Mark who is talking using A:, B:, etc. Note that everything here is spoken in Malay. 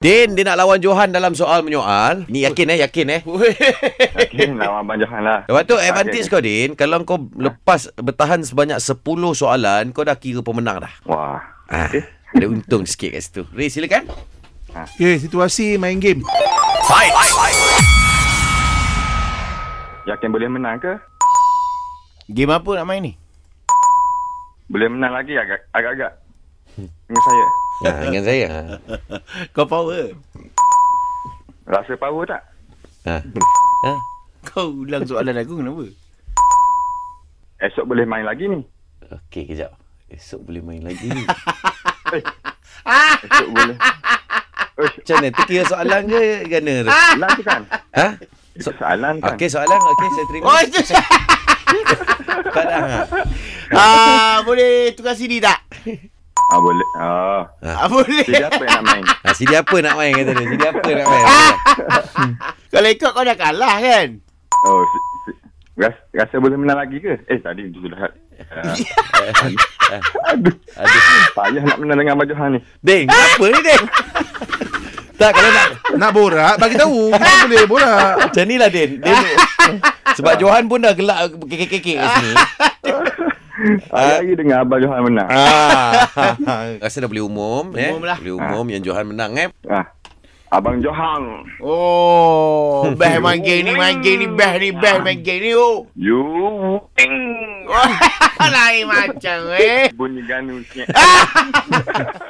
A: Din, dia nak lawan Johan dalam soal menyoal. Ni yakin eh, yakin eh.
B: Yakin lawan Abang Johan lah.
A: Lepas tu advantage kau Din, kalau kau lepas bertahan sebanyak 10 soalan, kau dah kira pemenang dah.
B: Wah.
A: Ah, ada untung sikit kat situ. Ray, silakan.
C: Okay, Ya, situasi main game.
B: Yakin boleh menang ke?
D: Game apa nak main ni?
B: Boleh menang lagi agak- agak-agak. Dengan saya.
A: Ha, dengan saya.
D: Kau power.
B: Rasa power tak?
A: Ha. Ha.
D: Kau ulang soalan aku kenapa?
B: Esok boleh main lagi ni.
A: Okey, kejap. Esok boleh main lagi.
B: Esok boleh. Uish,
A: Macam mana? Tu kira soalan ke gana? tu?
B: Soalan tu kan?
A: Ha?
B: Itu soalan kan?
A: Okey, soalan. Okey, saya terima.
D: Oh, itu
A: Kau dah. Ha?
D: Ah, boleh tukar CD tak?
B: Ah, boleh. Ah.
D: Ah, boleh.
B: Jadi apa yang nak main?
A: Ha, sini apa nak main kata dia? Sini apa nak main?
D: Kalau ikut kau dah kalah kan?
B: Oh, si, si, ras, rasa boleh menang lagi ke? Eh, tadi tu dah. Ah. Aduh. Aduh. Payah nak menang dengan Abang Johan ni.
A: Ding, apa ni Ding? tak, kalau nak
C: Nak borak, bagi tahu. Mana boleh borak.
A: Macam ni lah Din. Din sebab Johan pun dah gelak kekek-kekek kat sini.
B: Hari-hari dengan Abang Johan menang.
A: Ah. Rasa dah boleh umum, eh.
D: Umum lah.
A: Boleh umum yang Johan menang eh.
B: Ah. Abang Johan.
D: Oh, best main game ni, main game ni, best ni, best main game ni. Oh.
B: You
D: Lain macam eh.
B: bunyi ganu sikit.